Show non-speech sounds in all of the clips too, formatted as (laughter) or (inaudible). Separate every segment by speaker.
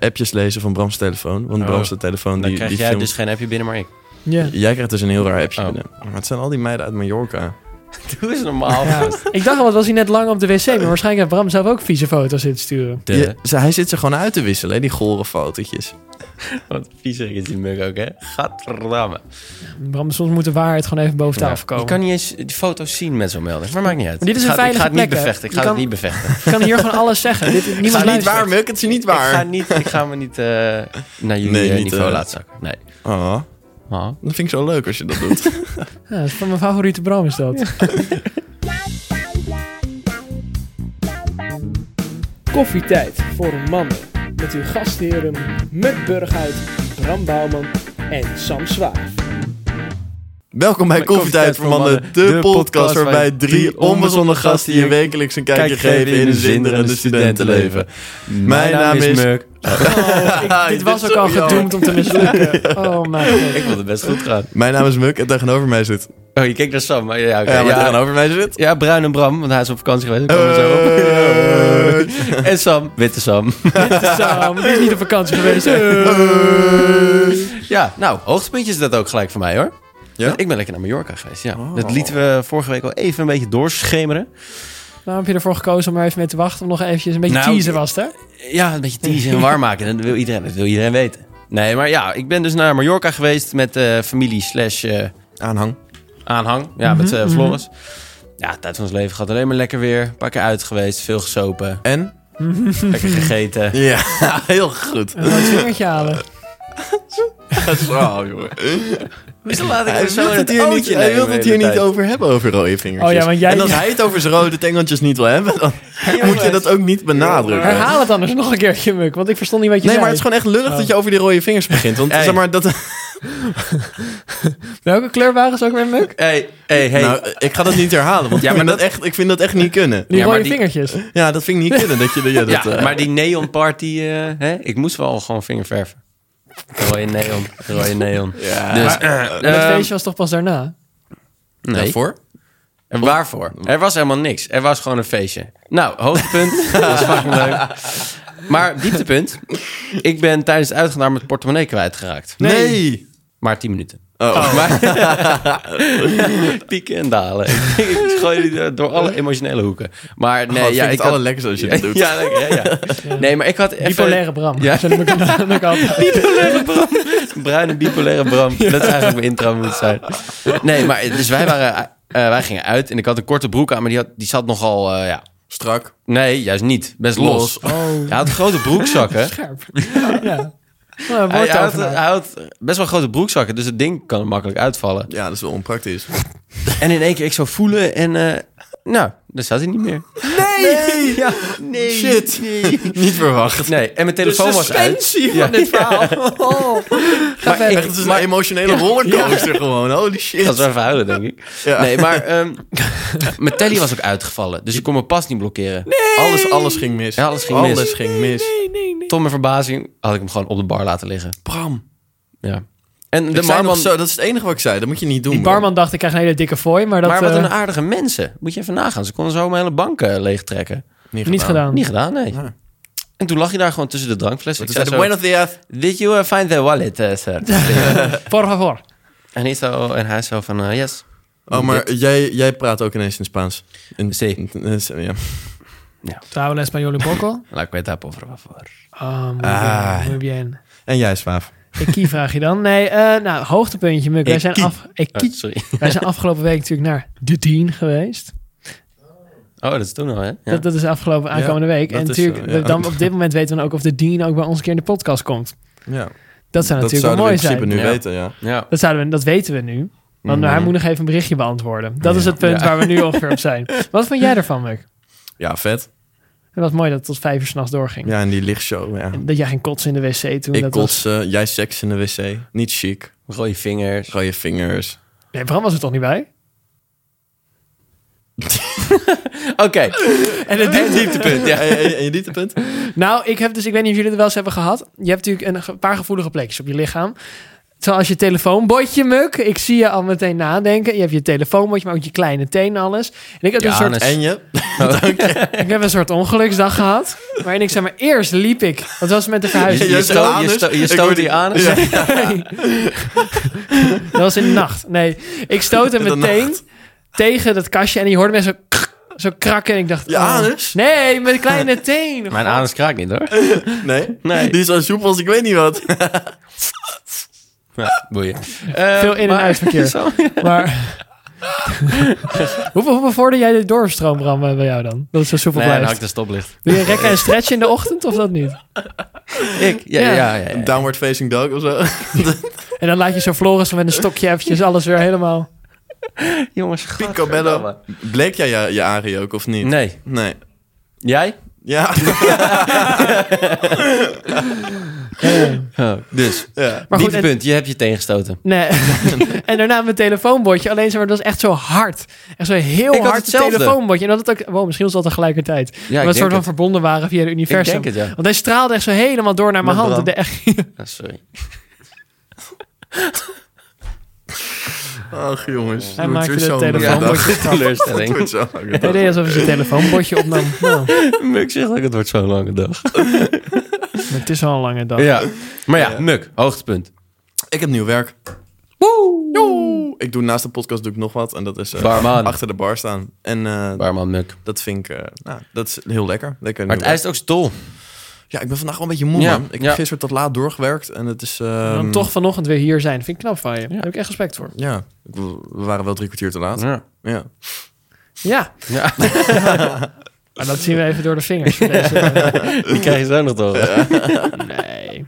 Speaker 1: appjes lezen van Brams telefoon. Want Brams de telefoon
Speaker 2: Dan
Speaker 1: die,
Speaker 2: krijg
Speaker 1: die
Speaker 2: jij
Speaker 1: filmt...
Speaker 2: dus geen appje binnen, maar ik. (laughs)
Speaker 1: Jij krijgt dus een heel raar appje
Speaker 2: Oh.
Speaker 1: binnen. Maar het zijn al die meiden uit Mallorca.
Speaker 2: Doe eens normaal.
Speaker 3: Ik dacht al, wat was hij net lang op de wc, maar waarschijnlijk heeft Bram zelf ook vieze foto's in te sturen.
Speaker 2: De,
Speaker 1: Je- ze- hij zit ze gewoon uit te wisselen, hè, die gore fotootjes.
Speaker 2: Wat viezerig is die mug ook, hè? Gadverdamme.
Speaker 3: Bram, soms moet de waarheid gewoon even boven tafel
Speaker 2: Je
Speaker 3: komen.
Speaker 2: kan niet eens die foto's zien met zo'n melding. Maar maakt niet uit.
Speaker 3: Maar dit is
Speaker 2: Ik
Speaker 3: een
Speaker 2: ga, Ik ga het
Speaker 3: veilige
Speaker 2: niet
Speaker 3: plek, hè?
Speaker 2: bevechten. Ik
Speaker 3: Je
Speaker 2: ga het
Speaker 3: kan-
Speaker 2: niet bevechten.
Speaker 3: Ik kan hier gewoon alles zeggen. Dit, niemand
Speaker 1: Het is niet
Speaker 3: luistert.
Speaker 1: waar, Muk. Het is niet
Speaker 2: Ik ga,
Speaker 1: waar.
Speaker 2: niet, ik ga me niet eh, naar jullie
Speaker 1: Nee,
Speaker 2: eh,
Speaker 1: niet,
Speaker 2: niveau
Speaker 1: eh,
Speaker 2: laten zakken. Nee.
Speaker 1: Oh, dat vind ik zo leuk als je dat doet.
Speaker 3: (laughs) Ja, dat is van mijn favoriete Bram is dat. Koffietijd voor mannen. Met uw gastheren Muk Burghuis, Bram Bouwman en Sam Zwaar.
Speaker 1: Welkom bij Koffietijd voor Mannen, de podcast waarbij drie onbezonnen gasten je wekelijks een kijkje geven in een zinderende studentenleven. Mijn naam is...
Speaker 2: Muk.
Speaker 3: (laughs) dit was ook al gedoemd om te mislukken. Oh mijn god.
Speaker 2: Ik vond het best goed gaan.
Speaker 1: Mijn naam is Muk en tegenover mij zit...
Speaker 2: Oh, je kijkt naar Sam. Maar ja, oké.
Speaker 1: Ja, maar
Speaker 2: ja,
Speaker 1: tegenover mij zit...
Speaker 2: ja, Bruin en Bram, want hij is op vakantie geweest. Daar komen we zo op.
Speaker 1: Eh, (laughs)
Speaker 2: (laughs) En Sam, witte Sam.
Speaker 3: Sam, die is niet op vakantie geweest. hè?
Speaker 1: eh,
Speaker 2: Ja, nou, hoogtepuntje is dat ook gelijk voor mij hoor.
Speaker 1: Ja?
Speaker 2: Want Ik ben lekker naar Mallorca geweest, ja. Dat lieten we vorige week al even een beetje doorschemeren.
Speaker 3: Waarom heb je ervoor gekozen om er even mee te wachten? Om nog eventjes een beetje
Speaker 2: Nou,
Speaker 3: teaser was, het, hè?
Speaker 2: Ja, een beetje teasen en warm maken. Dat wil iedereen, dat wil iedereen weten. Nee, maar ja, ik ben dus naar Mallorca geweest met eh, familie slash eh,
Speaker 1: Aanhang.
Speaker 2: aanhang. Ja, met eh, Floris. Ja, tijd van ons leven gaat alleen maar lekker weer. Een paar keer uit geweest, veel gesopen,
Speaker 1: En?
Speaker 2: lekker (laughs) gegeten.
Speaker 1: Ja, (laughs) heel goed.
Speaker 3: Een rood vingertje halen.
Speaker 2: Eh,
Speaker 1: Zo, jongen.
Speaker 2: Hoezo laat ik
Speaker 1: Eh, Hij
Speaker 2: hem zo
Speaker 1: wil
Speaker 2: in
Speaker 1: het hier niet,
Speaker 2: ootje
Speaker 1: hij
Speaker 2: nemen
Speaker 1: wil
Speaker 2: de
Speaker 1: het
Speaker 2: hele
Speaker 1: hier niet
Speaker 2: tijd?
Speaker 1: over hebben, over rode vingertjes.
Speaker 3: Oh ja, want jij-
Speaker 1: En (laughs) als hij het over zijn rode tengeltjes niet wil hebben, dan moet je dat ook niet
Speaker 2: eh.
Speaker 1: benadrukken.
Speaker 3: Herhaal het anders nog een keertje, Muk. Want ik verstond niet wat je
Speaker 1: Nee,
Speaker 3: zei.
Speaker 1: maar het Oh. is gewoon echt lullig dat je over die rode vingers begint. Want
Speaker 2: Hey.
Speaker 1: zeg maar, dat...
Speaker 3: Welke kleur waren ze ook weer, Muk?
Speaker 2: Hey, hey, hey.
Speaker 1: Nou, ik ga dat niet herhalen, want
Speaker 2: Ja,
Speaker 1: ja,
Speaker 2: maar
Speaker 1: maar dat echt, ik vind dat echt niet kunnen.
Speaker 3: Die
Speaker 2: Ja, maar
Speaker 3: rode
Speaker 2: die- Ehm,
Speaker 3: vingertjes.
Speaker 1: Ja, dat vind ik niet kunnen. Dat je, ja, dat,
Speaker 2: ja,
Speaker 1: eh,
Speaker 2: maar die neon party, eh, hè? ik moest wel gewoon vingerverven. Rode neon, rode neon.
Speaker 1: Ja.
Speaker 2: Dus,
Speaker 3: Dat
Speaker 2: ehm,
Speaker 3: feestje was toch pas daarna?
Speaker 2: nee.
Speaker 1: Daarvoor?
Speaker 2: En waarvoor? Er was helemaal niks. Er was gewoon een feestje. Nou,
Speaker 1: (laughs)
Speaker 2: hoogtepunt. dat was fucking leuk. Maar dieptepunt. Ik ben tijdens het uitgaan naar mijn portemonnee kwijtgeraakt.
Speaker 1: Nee.
Speaker 2: Maar 10 minuten.
Speaker 1: Oh.
Speaker 2: Maar, pieken en dalen. (laughs) ik gooi jullie door alle emotionele hoeken. Maar nee,
Speaker 1: Oh, vind
Speaker 2: ja,
Speaker 1: ik
Speaker 2: ik
Speaker 1: het
Speaker 2: had...
Speaker 1: allerlekkerst als je dat doet.
Speaker 2: (laughs) Ja, lekker, ja, ja. Nee, maar ik had even...
Speaker 3: Bipolaire Bram.
Speaker 2: Ja.
Speaker 3: Ja. Zullen
Speaker 2: (laughs)
Speaker 3: we elkaar- elkaar altijd-
Speaker 2: Bruine bipolaire Bram. Dat zou eigenlijk mijn intro moeten zijn. Nee, maar dus wij, waren, eh, wij gingen uit en ik had een korte broek aan, maar die, had, die zat nogal, eh, ja...
Speaker 1: Strak.
Speaker 2: Nee, juist niet. Best los.
Speaker 3: Oh,
Speaker 2: Hij had grote (laughs) broekzakken.
Speaker 3: scherp. Ja. Nou,
Speaker 2: Hij,
Speaker 3: woord
Speaker 2: hij had,
Speaker 3: daarvan.
Speaker 2: hij had best wel grote broekzakken, dus het ding kan makkelijk uitvallen.
Speaker 1: Ja, dat is wel onpraktisch.
Speaker 2: (laughs) En in één keer ik zo voelen en... eh, nou, daar zat hij niet meer.
Speaker 1: Nee!
Speaker 2: (laughs)
Speaker 1: Ja, nee. Shit. Niet verwacht.
Speaker 2: Nee, en mijn telefoon was uit.
Speaker 1: Ja.
Speaker 2: dit (laughs) verhaal. Oh.
Speaker 3: Ga
Speaker 2: maar ik-
Speaker 3: verder.
Speaker 1: Echt, het is een emotionele rollercoaster gewoon. Holy shit.
Speaker 2: Dat is wel verhuilen, denk ik.
Speaker 1: (laughs) Ja.
Speaker 2: Nee, maar ehm, (laughs) mijn telly was ook uitgevallen. Dus ik kon mijn pas niet blokkeren.
Speaker 1: alles, alles ging mis.
Speaker 2: Ja, alles ging mis.
Speaker 1: ging mis.
Speaker 2: Tot mijn verbazing had ik hem gewoon op de bar laten liggen.
Speaker 1: Bram.
Speaker 2: Ja. En
Speaker 1: De
Speaker 2: de
Speaker 1: ik zei nog
Speaker 2: barman...
Speaker 1: zo, dat is het enige wat ik zei. Dat moet je niet doen.
Speaker 3: Die
Speaker 1: bro.
Speaker 3: barman dacht, ik krijg een hele dikke fooi, maar dat
Speaker 2: maar wat
Speaker 3: eh,
Speaker 2: een aardige mensen. Moet je even nagaan. Ze konden zo mijn hele bank eh, leegtrekken.
Speaker 3: niet gedaan.
Speaker 2: Niet gedaan, nee.
Speaker 1: Ja.
Speaker 2: En toen lag je daar gewoon tussen de drankflessen. Ik
Speaker 1: Toen zei
Speaker 2: zei
Speaker 1: de
Speaker 2: zo,
Speaker 1: buenos días.
Speaker 2: Did you eh, find the wallet, eh, sir?
Speaker 3: Por favor.
Speaker 2: en, hij zo, en hij zo van, eh, yes.
Speaker 1: Oh, maar jij, jij praat ook ineens in Spaans. In,
Speaker 2: Sí.
Speaker 1: in- ja.
Speaker 3: Trouwen español un poco.
Speaker 2: La cuenta, por favor.
Speaker 3: Ah, muy,
Speaker 1: Ah.
Speaker 3: bien, muy bien.
Speaker 1: En jij, Swaaf.
Speaker 3: Eki vraag je dan. Nee, eh, nou, hoogtepuntje, Muk. Wij zijn,
Speaker 1: Eki.
Speaker 3: af, Eki.
Speaker 2: Oh, sorry. (laughs)
Speaker 3: Wij zijn afgelopen week natuurlijk naar de Dean geweest.
Speaker 2: Oh, dat is toen al, hè? Ja.
Speaker 3: Dat, dat is afgelopen aankomende
Speaker 1: Ja,
Speaker 3: week.
Speaker 1: dat
Speaker 3: En
Speaker 1: is
Speaker 3: natuurlijk,
Speaker 1: zo, ja.
Speaker 3: dan op dit moment weten we dan ook of de Dean ook bij ons een keer in de podcast komt.
Speaker 1: Ja.
Speaker 3: Dat zou
Speaker 1: Dat
Speaker 3: natuurlijk wel
Speaker 1: zouden we
Speaker 3: mooi
Speaker 1: in principe
Speaker 3: zijn.
Speaker 1: nu Mm.
Speaker 2: Ja.
Speaker 1: weten, ja.
Speaker 2: ja.
Speaker 3: Dat, zouden we, dat weten we nu. Want hij moet nog even een berichtje
Speaker 1: (laughs)
Speaker 3: beantwoorden. Dat is het punt
Speaker 2: Ja.
Speaker 3: waar we nu ongeveer op zijn. Wat vond jij ervan, Muk?
Speaker 1: Ja, vet.
Speaker 3: En wat mooi dat het tot vijf uur s'nachts doorging.
Speaker 1: Ja, en die lichtshow, ja.
Speaker 3: En dat jij ging kotsen in de wc toen.
Speaker 1: Ik
Speaker 3: dat
Speaker 1: kots, eh, jij seks in de wc. Niet chic.
Speaker 2: Rode vingers.
Speaker 1: Rode vingers.
Speaker 3: Was... Nee, Bram was er toch niet bij?
Speaker 2: Oké,
Speaker 3: En het
Speaker 1: En dieptepunt, ja. En, en- en je dieptepunt?
Speaker 3: Nou, ik heb dus, ik weet niet of jullie het wel eens hebben gehad. Je hebt natuurlijk een ge- paar gevoelige plekjes op je lichaam. Zoals je telefoonbotje, muk. Ik zie je al meteen nadenken. Je hebt je telefoonbotje, maar ook je kleine teen, alles. En ik heb een
Speaker 2: Ja,
Speaker 3: soort
Speaker 2: net-
Speaker 1: En je?
Speaker 3: Ik heb een soort ongeluksdag gehad. Waarin ik zeg maar, eerst liep ik. Dat was met de
Speaker 2: je,
Speaker 3: verhuizing. (laughs)
Speaker 1: Ja,
Speaker 2: je,
Speaker 1: je
Speaker 2: sto- je,
Speaker 1: anus.
Speaker 2: sto- je
Speaker 1: Ik
Speaker 2: stoot
Speaker 1: word-
Speaker 2: die aan.
Speaker 1: Ja.
Speaker 3: Dat was in de nacht. Nee, ik stootte
Speaker 1: In de
Speaker 3: meteen tegen dat kastje. En je hoorde me zo, krak- zo krakken. En ik dacht...
Speaker 1: Je
Speaker 3: oh.
Speaker 1: anus?
Speaker 3: Nee, mijn kleine teen.
Speaker 2: (laughs) Mijn anus kraakt niet hoor.
Speaker 1: Nee?
Speaker 2: Nee.
Speaker 1: Die is zo soepel als ik weet niet wat.
Speaker 2: Ja, boeien. Eh,
Speaker 3: Veel in- en
Speaker 2: (laughs)
Speaker 3: uitverkeer. Maar... hoe, hoe bevorder jij de doorstroom, Bram, eh, bij jou dan? Dat het zo soepel
Speaker 2: Nee, dan had ik
Speaker 3: blijft.
Speaker 2: de stoplicht.
Speaker 3: Doe je rekken en stretchen in de ochtend of dat niet?
Speaker 2: Ik? Ja, ja, ja.
Speaker 3: Ja.
Speaker 2: ja, ja.
Speaker 1: Downward facing dog of zo. (laughs)
Speaker 3: En dan laat je zo Floris met een stokje eventjes alles weer helemaal...
Speaker 2: Jongens,
Speaker 1: Picobello. Bleek jij je, je arie ook of niet?
Speaker 2: Nee.
Speaker 1: Nee.
Speaker 2: Jij? (laughs)
Speaker 1: Ja.
Speaker 2: Dus,
Speaker 1: ja.
Speaker 3: Maar goed, en-
Speaker 2: dieptepunt. Je hebt je tegengestoten.
Speaker 3: Nee. (laughs) en daarna mijn telefoonbordje. Alleen zeg maar, dat was echt zo hard. Echt zo heel
Speaker 2: Ik had
Speaker 3: hard
Speaker 2: hetzelfde.
Speaker 3: telefoonbordje. En dat het ook, wow, misschien was dat tegelijkertijd.
Speaker 2: ik
Speaker 3: dat we een
Speaker 2: denk
Speaker 3: soort van
Speaker 2: het.
Speaker 3: verbonden waren via het
Speaker 2: Ik
Speaker 3: universum.
Speaker 2: denk het, ja.
Speaker 3: Want hij straalde echt zo helemaal door naar mijn
Speaker 1: Met
Speaker 3: hand.
Speaker 1: Bram.
Speaker 3: Ik dacht echt-
Speaker 2: Ah, sorry.
Speaker 1: Ach jongens.
Speaker 3: Hij
Speaker 1: Het wordt
Speaker 3: maakte
Speaker 1: weer
Speaker 3: de
Speaker 1: zo'n (laughs)
Speaker 3: telefoonbordje
Speaker 1: dag. Het
Speaker 2: Teleurstelling.
Speaker 1: wordt zo'n lange
Speaker 3: Hij
Speaker 1: dag.
Speaker 3: deed alsof hij zijn telefoonbordje opnam. Nou,
Speaker 2: (laughs) Muk zegt ook, het wordt zo'n lange dag.
Speaker 3: maar het is al een lange dag.
Speaker 2: Ja. Maar ja, Muk, hoogtepunt.
Speaker 1: Ik heb nieuw werk. Joe. Ik doe naast de podcast doe ik nog wat. En dat is eh,
Speaker 2: Barman.
Speaker 1: achter de bar staan. En eh,
Speaker 2: Barman Muk.
Speaker 1: dat vind ik eh, nou, dat is heel lekker. lekker
Speaker 2: Maar
Speaker 1: nieuw
Speaker 2: het ijs is ook stol.
Speaker 1: werk. Ja, ik ben vandaag wel een beetje moe,
Speaker 2: Ja,
Speaker 1: man. Ik
Speaker 2: ja.
Speaker 1: heb gisteren tot laat doorgewerkt. En het is...
Speaker 3: En
Speaker 1: eh,
Speaker 2: ehm.
Speaker 3: dan toch vanochtend weer hier zijn. Vind ik knap van je. Daar heb ik echt respect voor.
Speaker 1: Ja, ik bedoel, we waren wel drie kwartier te laat.
Speaker 2: Ja.
Speaker 1: Ja.
Speaker 3: Ja,
Speaker 2: ja.
Speaker 3: (laughs) maar dat zien we even door de vingers. voor deze-
Speaker 2: Die krijg je zo nog door.
Speaker 3: nee,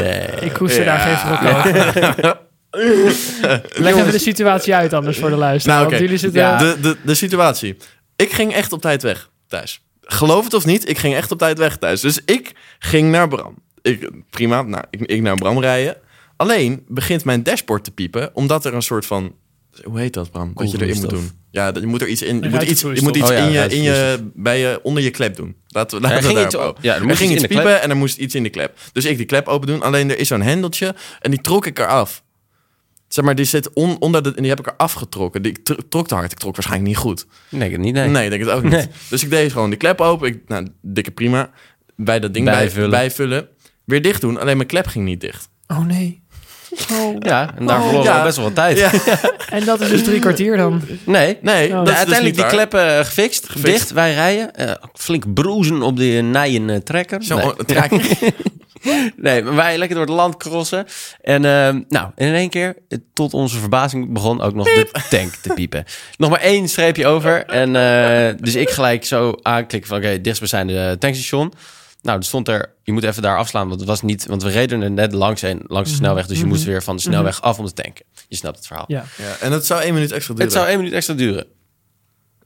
Speaker 2: Nee.
Speaker 3: ik hoest er daar geen verhaal over. Leg even de situatie uit anders voor de luisteraar.
Speaker 1: Nou, oké.
Speaker 3: Want jullie zitten...
Speaker 2: Ja.
Speaker 1: De, de, de situatie. Ik ging echt op tijd weg thuis. Geloof het of niet, ik ging echt op tijd weg thuis. Dus ik ging naar Bram. Ik, prima, nou, ik, ik naar Bram rijden. Alleen begint mijn dashboard te piepen, omdat er een soort van... Hoe heet dat, Bram? Wat je erin moet
Speaker 2: Koelvloeistof.
Speaker 1: doen. Ja, dat- je moet er iets in. Je
Speaker 3: Een
Speaker 1: moet iets, je moet
Speaker 3: ruitvloeistof.
Speaker 1: iets
Speaker 2: Oh ja,
Speaker 1: in je, in je,
Speaker 2: ruitvloeistof.
Speaker 1: bij je, onder je klep doen. Laten we, laten we
Speaker 2: ging
Speaker 1: daarop
Speaker 2: iets
Speaker 1: houden.
Speaker 2: op- ja, er moest
Speaker 1: er ging
Speaker 2: iets
Speaker 1: iets
Speaker 2: in de klep.
Speaker 1: piepen en er moest iets in de klep. Dus ik die klep open doen. Alleen er is zo'n hendeltje en die trok ik eraf. Zeg maar, die zit on, onder de... En die heb ik er afgetrokken. Die, ik tr- trok te hard. Ik trok waarschijnlijk niet goed.
Speaker 2: Nee, ik het niet, nee.
Speaker 1: Nee, ik denk het ook niet. Dus ik deed gewoon die klep open. Ik, nou, dikke prima. Bij dat ding bijvullen.
Speaker 2: Bijvullen.
Speaker 1: bijvullen. Weer dicht doen. Alleen mijn klep ging niet dicht.
Speaker 3: Oh nee. Oh.
Speaker 2: Ja, en daar
Speaker 3: Oh,
Speaker 2: verloren we
Speaker 1: ja.
Speaker 2: al best wel wat tijd.
Speaker 1: Ja.
Speaker 3: En dat is dus drie kwartier dan.
Speaker 2: Nee.
Speaker 1: Nee, dat is
Speaker 3: Nou,
Speaker 1: dus
Speaker 2: Oh. uiteindelijk
Speaker 1: niet
Speaker 2: die
Speaker 1: waar.
Speaker 2: kleppen eh, gefixt, dicht, wij rijden. Eh, flink broezen op die nijen trekker.
Speaker 1: Zo,
Speaker 2: nee.
Speaker 1: oh, het raakt-
Speaker 2: (laughs) nee, maar wij lekker door het land crossen. En ehm, nou, en in één keer, eh, tot onze verbazing, begon ook nog de (laughs) tank te piepen. Nog maar één streepje over.
Speaker 3: (laughs)
Speaker 2: En eh, dus ik gelijk zo aanklikken van, oké, dichtstbijzijnde eh, tankstation. Nou, er stond er, je moet even daar afslaan, want het was niet, want we reden er net langs heen, langs de snelweg. Dus je moest weer van de snelweg af om te tanken. Je snapt het verhaal.
Speaker 3: Mhm. Ja.
Speaker 1: ja, en het zou één minuut extra duren.
Speaker 2: Het zou één minuut extra
Speaker 3: (laughs)
Speaker 2: duren.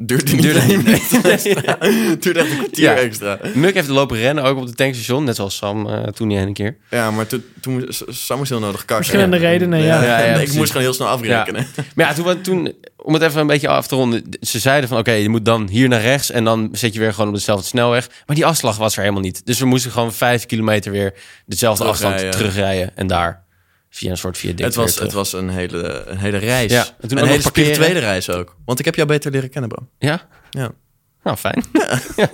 Speaker 1: Duurde niet
Speaker 2: Duurde
Speaker 1: één
Speaker 2: niet.
Speaker 1: minuut. Het duurde echt een kwartier
Speaker 2: Ja.
Speaker 1: extra.
Speaker 2: Muk heeft lopen rennen, ook op de tankstation. Net zoals Sam eh, toen die een keer.
Speaker 1: Ja, maar toen, toen S- Sam moest heel nodig kakken.
Speaker 3: Verschillende
Speaker 1: Ja.
Speaker 3: redenen,
Speaker 1: Ja,
Speaker 3: ja.
Speaker 2: Ja, ja,
Speaker 1: ik
Speaker 2: precies.
Speaker 1: moest gewoon heel snel afrekenen.
Speaker 2: Maar ja, toen, we- toen, om het even een beetje af te ronden. Ze zeiden van, oké, je moet dan hier naar rechts. En dan zit je weer gewoon op dezelfde snelweg. Maar die afslag was er helemaal niet. Dus we moesten gewoon vijf kilometer weer dezelfde afstand
Speaker 1: Terugrijden.
Speaker 2: terugrijden. En daar via een soort viaduct
Speaker 1: Het was,
Speaker 2: weer
Speaker 1: het
Speaker 2: terug.
Speaker 1: was een, hele, een hele reis.
Speaker 2: Ja, en toen ook
Speaker 1: een
Speaker 2: nog
Speaker 1: hele
Speaker 2: parkeren.
Speaker 1: spirituele reis ook. Want ik heb jou beter leren kennen, Bram.
Speaker 2: Ja?
Speaker 1: Ja.
Speaker 2: Nou, fijn. (laughs) Ja.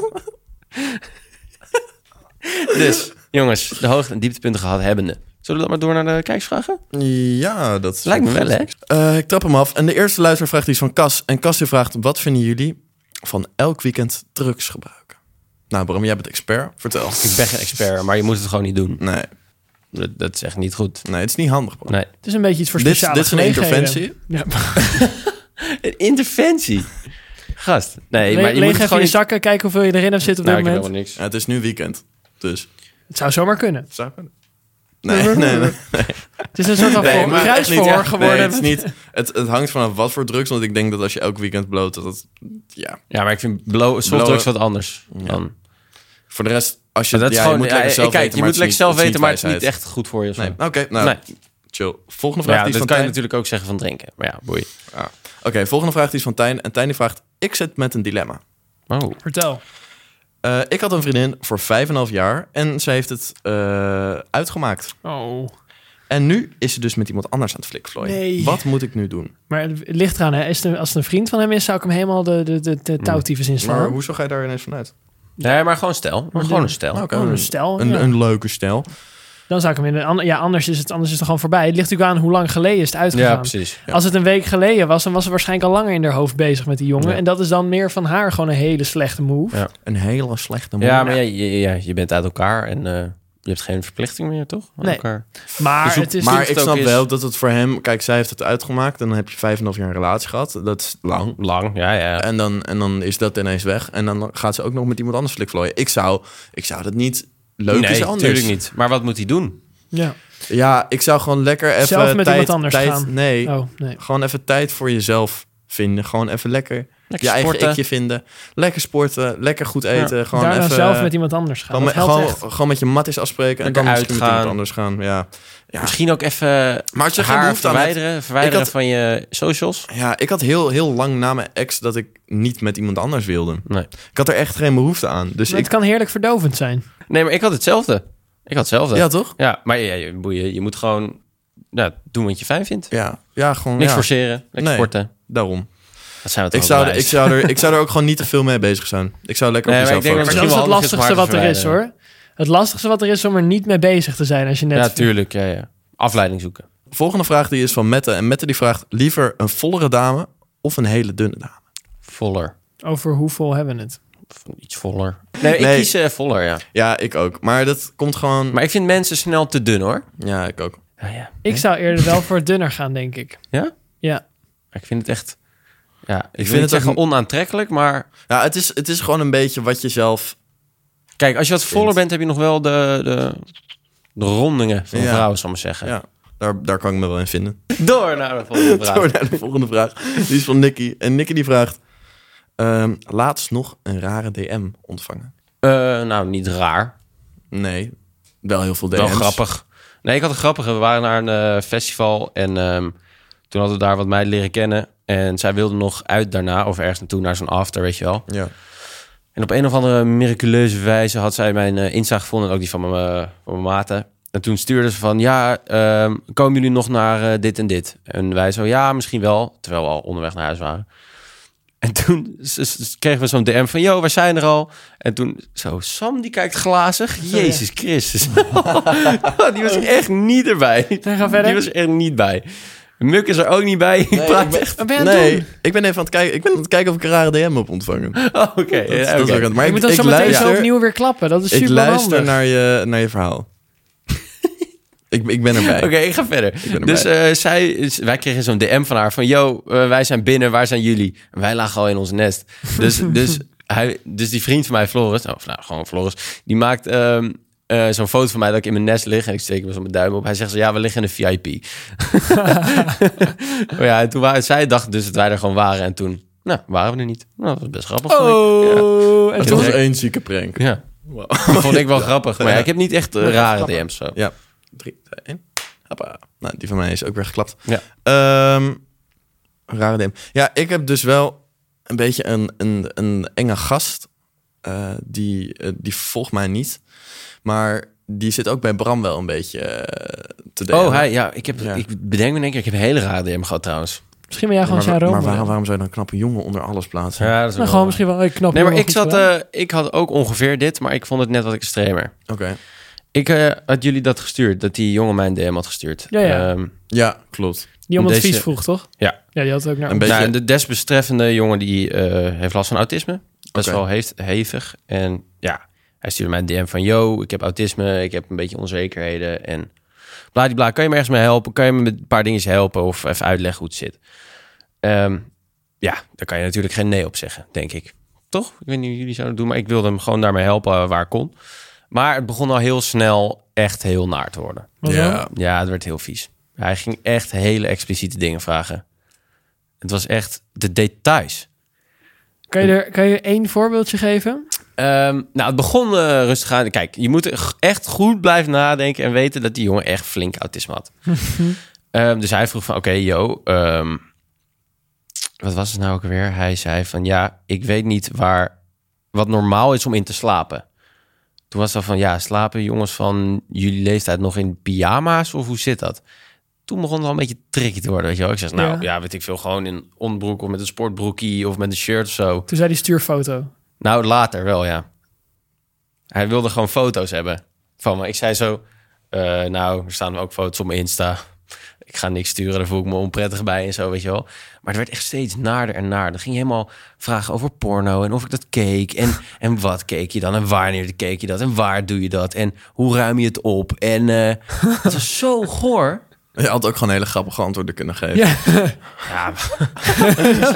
Speaker 2: dus, jongens, de hoogte- en dieptepunten gehad hebbende. Zullen we dat maar door naar de kijksvragen?
Speaker 1: Ja, dat
Speaker 2: Lijkt me wel, hè?
Speaker 1: Eh, ik trap hem af. En de eerste luistervraag die is van Cas. En Cas die vraagt, wat vinden jullie van elk weekend drugs gebruiken? Nou Bram, jij bent expert. Vertel.
Speaker 2: Ik ben geen expert, maar je moet het gewoon niet doen.
Speaker 1: Nee,
Speaker 2: Dat, dat is echt niet goed.
Speaker 1: nee, het is niet handig Bram.
Speaker 2: Nee.
Speaker 3: Het is een beetje iets voor
Speaker 1: Dit-
Speaker 3: speciale
Speaker 1: dit is een
Speaker 3: gelegenheden.
Speaker 1: interventie.
Speaker 3: Ja.
Speaker 2: Een interventie. Gast. Nee,
Speaker 3: Le-
Speaker 2: maar je
Speaker 3: leeg
Speaker 2: moet het
Speaker 3: even
Speaker 2: gewoon
Speaker 3: je
Speaker 2: niet...
Speaker 3: zakken, kijken hoeveel je erin hebt zitten op
Speaker 2: Nou, ik
Speaker 3: dit
Speaker 2: heb
Speaker 3: moment.
Speaker 2: helemaal niks.
Speaker 1: Ja, het is nu weekend. Dus.
Speaker 3: Het zou zomaar kunnen.
Speaker 1: Zou kunnen. Nee, nee, nee. nee,
Speaker 3: Het is een soort van voor-
Speaker 1: maar echt niet,
Speaker 3: kruisverhoor
Speaker 1: ja.
Speaker 3: geworden.
Speaker 1: Nee, het, is niet, het, het hangt vanaf wat voor drugs. Want ik denk dat als je elk weekend bloot, dat het... Ja,
Speaker 2: Ja, maar ik vind blow, softdrugs wat anders. Dan.
Speaker 1: Voor de rest, als je...
Speaker 2: Maar dat is
Speaker 1: ja,
Speaker 2: gewoon,
Speaker 1: je moet lekker
Speaker 2: ja, eh,
Speaker 1: zelf
Speaker 2: kijk,
Speaker 1: weten,
Speaker 2: je
Speaker 1: maar
Speaker 2: moet
Speaker 1: het is
Speaker 2: lekker zelf
Speaker 1: niet- het is
Speaker 2: weten, maar het is niet
Speaker 1: wijsheid.
Speaker 2: echt goed voor je. of zo.
Speaker 1: Nee, oké, nou,
Speaker 2: Nee.
Speaker 1: chill. Volgende
Speaker 2: Maar
Speaker 1: vraag
Speaker 2: ja,
Speaker 1: die is van
Speaker 2: dus dat kan je
Speaker 1: Tijn. Ah,
Speaker 2: natuurlijk ook zeggen van drinken. Maar ja, boei.
Speaker 1: Oké, volgende vraag die is van Tijn. En Tijn die vraagt, ik zit met een dilemma.
Speaker 2: Oh.
Speaker 3: Vertel.
Speaker 1: Eh, ik had een vriendin voor 5,5 jaar en ze heeft het eh, uitgemaakt.
Speaker 3: Oh.
Speaker 1: En nu is ze dus met iemand anders aan het flikvlooien.
Speaker 3: Nee.
Speaker 1: Wat moet ik nu doen?
Speaker 3: Maar het ligt eraan, hè. Is het een- als het een vriend van hem is, zou ik hem helemaal de, de, de, de touwtyfus
Speaker 1: Maar
Speaker 3: inslaan.
Speaker 1: hoezo ga je daar ineens vanuit?
Speaker 2: Nee, maar gewoon stel. Maar gewoon een stel.
Speaker 1: Nou, oké,
Speaker 3: Oh, een stel,
Speaker 1: Een,
Speaker 3: ja.
Speaker 1: een leuke stijl.
Speaker 3: Dan zou ik hem in een ander- Ja, anders is, het, anders is het gewoon voorbij. Het ligt natuurlijk aan hoe lang geleden is het uitgegaan.
Speaker 2: Ja, precies.
Speaker 3: Als het een week geleden was, dan was ze waarschijnlijk al langer in haar hoofd bezig met die jongen.
Speaker 2: Ja.
Speaker 3: En dat is dan meer van haar gewoon een hele slechte move.
Speaker 2: Ja.
Speaker 1: Een hele slechte man.
Speaker 2: Ja, maar ja, je, ja, je bent uit elkaar en eh, je hebt geen verplichting meer, toch? Aan
Speaker 3: Nee.
Speaker 2: elkaar.
Speaker 3: Maar
Speaker 2: Dus hoe-
Speaker 3: het is...
Speaker 1: maar
Speaker 2: het
Speaker 1: ik
Speaker 2: ook
Speaker 1: snap
Speaker 2: is-
Speaker 1: wel dat het voor hem... Kijk, zij heeft het uitgemaakt. En dan heb je 5,5 jaar een relatie gehad. Dat is lang.
Speaker 2: Hm, Lang, ja, ja.
Speaker 1: En dan, en dan is dat ineens weg. En dan gaat ze ook nog met iemand anders flikvlooien. Ik zou, ik zou dat niet... Leuk
Speaker 2: nee,
Speaker 1: is anders.
Speaker 2: natuurlijk niet. Maar wat moet hij doen?
Speaker 3: ja.
Speaker 1: Ja, ik zou gewoon lekker even
Speaker 3: Zelf met
Speaker 1: tijd,
Speaker 3: iemand anders
Speaker 1: tijd,
Speaker 3: gaan.
Speaker 1: Nee,
Speaker 3: Oh, nee.
Speaker 1: gewoon even tijd voor jezelf vinden. Gewoon even lekker, je eigen
Speaker 2: sporten.
Speaker 1: ikje vinden. Lekker sporten, lekker goed eten. Gewoon
Speaker 3: Daarna
Speaker 1: even, eh,
Speaker 3: zelf met iemand anders gaan.
Speaker 1: gewoon,
Speaker 3: Dat
Speaker 1: met,
Speaker 3: helpt
Speaker 1: gewoon,
Speaker 3: echt.
Speaker 1: gewoon met je matties afspreken en
Speaker 2: Lekker
Speaker 1: dan misschien met iemand
Speaker 2: uitgaan.
Speaker 1: anders gaan. Ja. Ja.
Speaker 2: Misschien ook even
Speaker 1: Maar als je geen
Speaker 2: haar
Speaker 1: behoefte aan hebt.
Speaker 2: verwijderen. Verwijderen
Speaker 1: Ik had-
Speaker 2: van je socials.
Speaker 1: Ja, ik had heel, heel lang na mijn ex dat ik niet met iemand anders wilde.
Speaker 2: Nee.
Speaker 1: Ik had er echt geen behoefte aan. Dus
Speaker 3: Maar
Speaker 1: ik...
Speaker 3: Het kan heerlijk verdovend zijn.
Speaker 2: nee, maar ik had hetzelfde. Ik had hetzelfde.
Speaker 1: Ja, toch?
Speaker 2: Ja, maar ja, je, boeien, je moet gewoon ja, doen wat je fijn vindt.
Speaker 1: Ja, ja gewoon
Speaker 2: Niks
Speaker 1: ja,
Speaker 2: forceren, lekker
Speaker 1: Nee.
Speaker 2: sporten.
Speaker 1: daarom.
Speaker 2: Dat zijn we toch
Speaker 1: Ik zou, er, ik, zou er, ik zou er ook gewoon niet te veel mee bezig zijn. Ik zou lekker
Speaker 2: Nee,
Speaker 1: op
Speaker 2: maar ik
Speaker 1: mezelf
Speaker 2: denk dat
Speaker 1: focussen.
Speaker 3: Maar dat is
Speaker 2: wel handig
Speaker 3: het
Speaker 2: is om
Speaker 3: lastigste
Speaker 2: haar
Speaker 3: wat
Speaker 2: te
Speaker 3: er is, hoor. Het lastigste wat er is om er niet mee bezig te zijn als je net...
Speaker 2: Ja, tuurlijk. Ja, ja. Afleiding zoeken.
Speaker 1: Volgende vraag die is van Mette. En Mette die vraagt liever een vollere dame of een hele dunne dame.
Speaker 2: Voller.
Speaker 3: Over hoe vol hebben we het?
Speaker 2: Iets voller. Nee, ik
Speaker 1: Nee.
Speaker 2: kies eh, voller, ja.
Speaker 1: Ja, ik ook. Maar dat komt gewoon...
Speaker 2: Maar ik vind mensen snel te dun, hoor.
Speaker 1: Ja, ik ook.
Speaker 2: Ja, ja.
Speaker 3: Ik zou eerder wel voor dunner gaan, denk ik.
Speaker 2: Ja?
Speaker 3: Ja.
Speaker 2: Maar Ik vind het echt... Ja, ik, vind
Speaker 1: het
Speaker 2: het echt
Speaker 1: ook-
Speaker 2: onaantrekkelijk, maar...
Speaker 1: Ja, het is, het is gewoon een beetje wat je zelf...
Speaker 2: Kijk, als je wat voller bent, heb je nog wel de, de, de rondingen van
Speaker 1: Ja.
Speaker 2: vrouwen, zal ik maar zeggen.
Speaker 1: Ja, daar, daar kan ik me wel in vinden.
Speaker 2: Door naar de (laughs) volgende vraag.
Speaker 1: Door naar de volgende vraag. Die is van Nicky. En Nicky die vraagt... ehm, laatst nog een rare DM ontvangen.
Speaker 2: Eh, nou, niet raar.
Speaker 1: Nee, wel heel veel DM's.
Speaker 2: Wel grappig. Nee, ik had een grappige. We waren naar een eh, festival en ehm, toen hadden we daar wat meiden leren kennen. En zij wilde nog uit daarna of ergens naartoe naar zo'n after, weet je wel.
Speaker 1: Ja.
Speaker 2: En op een of andere miraculeuze wijze had zij mijn eh, Insta gevonden en ook die van mijn, eh, van mijn maten. En toen stuurde ze van, ja, ehm, komen jullie nog naar eh, dit en dit? En wij zo, ja, misschien wel. Terwijl we al onderweg naar huis waren. En toen s- s- kregen we zo'n DM van, yo, we zijn er al. En toen zo, Sam die kijkt glazig. Jezus Christus. (laughs) Oh, die was echt niet erbij.
Speaker 3: Dan gaan we verder.
Speaker 2: Die was er niet bij. Muk is er ook niet bij. Ik (laughs) praat echt...
Speaker 3: Wat ben je aan het
Speaker 1: Nee,
Speaker 3: doen?
Speaker 1: ik ben even aan het kijken, ik ben aan het kijken of ik een rare DM heb ontvangen. Dat,
Speaker 2: Oh, Oké.
Speaker 1: is-
Speaker 2: ja,
Speaker 1: dat is
Speaker 2: oké.
Speaker 1: ook aan- maar
Speaker 3: Ik moet dat zo meteen zo opnieuw weer klappen. Dat is
Speaker 1: Ik
Speaker 3: super
Speaker 1: luister
Speaker 3: handig.
Speaker 1: naar je, naar je verhaal. ik, ik ben erbij.
Speaker 2: Oké, ik ga verder.
Speaker 1: ben erbij.
Speaker 2: dus eh, zij, z- wij kregen zo'n DM van haar van... Yo, eh, wij zijn binnen, waar zijn jullie? En wij lagen al in ons nest. Dus, dus, hij, dus die vriend van mij, Floris... Of nou, gewoon Floris. Die maakt ehm, eh, zo'n foto van mij dat ik in mijn nest lig. En ik steek hem zo mijn duim op. Hij zegt zo, ja, we liggen in een VIP. maar Oh ja, en toen waren, zij dacht dus dat wij er gewoon waren. En toen, nou, waren we er niet. Nou, dat was best grappig. vond ik. Ja.
Speaker 3: Oh, en
Speaker 1: Het
Speaker 3: toen...
Speaker 1: was één zieke prank.
Speaker 2: Ja. Dat vond ik wel grappig. Maar ja, ik heb niet echt eh, rare DM's. Zo.
Speaker 1: Ja. (laughs) Drie, twee, één. Hoppa. Nou, die van mij is ook weer geklapt.
Speaker 2: Ja.
Speaker 1: Ehm, rare DM. Ja, ik heb dus wel een beetje een, een, een enge gast. Eh, die, eh, die volgt mij niet. Maar die zit ook bij Bram wel een beetje eh, te denken.
Speaker 2: Oh, hij, ja, ik, heb,
Speaker 1: Ja.
Speaker 2: ik bedenk me in één keer, ik heb een hele rare DM gehad trouwens.
Speaker 3: Misschien ben jij gewoon
Speaker 1: maar,
Speaker 3: zijn
Speaker 1: wa- maar
Speaker 3: Rome.
Speaker 1: waarom, waarom zou je dan knappe jongen onder alles plaatsen?
Speaker 2: Ja, dat is
Speaker 3: Nou, gewoon misschien wel. Ik knap
Speaker 2: Nee, maar
Speaker 3: hem wel
Speaker 2: ik,
Speaker 3: goed
Speaker 2: zat,
Speaker 3: gedaan.
Speaker 2: eh, ik had ook ongeveer dit, maar ik vond het net wat extremer.
Speaker 1: Oké.
Speaker 2: Ik eh, had jullie dat gestuurd, dat die jongen mijn DM had gestuurd.
Speaker 3: Ja, ja.
Speaker 2: Ehm,
Speaker 1: Ja, klopt.
Speaker 3: Die om
Speaker 2: deze-
Speaker 3: advies vroeg, toch?
Speaker 2: Ja.
Speaker 3: Ja, die had ook naar...
Speaker 1: Een beetje-
Speaker 2: nou, en de desbetreffende jongen die eh, heeft last van autisme. Best
Speaker 1: Oké.
Speaker 2: wel heeft, hevig. En ja, hij stuurde mij een DM van... Yo, ik heb autisme, ik heb een beetje onzekerheden en... Bladibla, kan je me ergens mee helpen? Kan je me met een paar dingetjes helpen of even uitleggen hoe het zit? Ehm, ja, daar kan je natuurlijk geen nee op zeggen, denk ik. Toch? Ik weet niet hoe jullie zouden doen, maar ik wilde hem gewoon daarmee helpen eh, waar ik kon. Maar het begon al heel snel echt heel naar te worden.
Speaker 3: Wat dan?
Speaker 1: Ja.
Speaker 2: Ja, het werd heel vies. Hij ging echt hele expliciete dingen vragen. Het was echt de details.
Speaker 3: Kan, je er, kan je één voorbeeldje geven?
Speaker 2: Ehm, nou, het begon eh, rustig aan. Kijk, je moet er g- echt goed blijven nadenken en weten dat die jongen echt flink autisme had. Ehm, dus hij vroeg van, oké, yo, ehm, wat was het nou ook weer? Hij zei van, ja, ik weet niet waar wat normaal is om in te slapen. Toen was dat van, ja, slapen jongens van jullie leeftijd nog in pyjama's of hoe zit dat? Toen begon het al een beetje tricky te worden, weet je wel. Ik zeg, nou,
Speaker 3: Ja.
Speaker 2: ja, weet ik veel, gewoon in onderbroek of met een sportbroekie of met een shirt of zo.
Speaker 3: Toen zei die stuurfoto.
Speaker 2: Nou, later wel, ja. Hij wilde gewoon foto's hebben van me. Ik zei zo, eh, nou, er staan ook foto's op mijn Insta. Ik ga niks sturen, daar voel ik me onprettig bij en zo, weet je wel. Maar het werd echt steeds naarder en naarder. Ging helemaal vragen over porno en of ik dat keek. En, en wat keek je dan en wanneer keek je dat en waar doe je dat? En hoe ruim je het op? En eh, het was zo goor.
Speaker 1: Je had ook gewoon hele grappige antwoorden kunnen geven.
Speaker 3: Ja.
Speaker 2: Ja,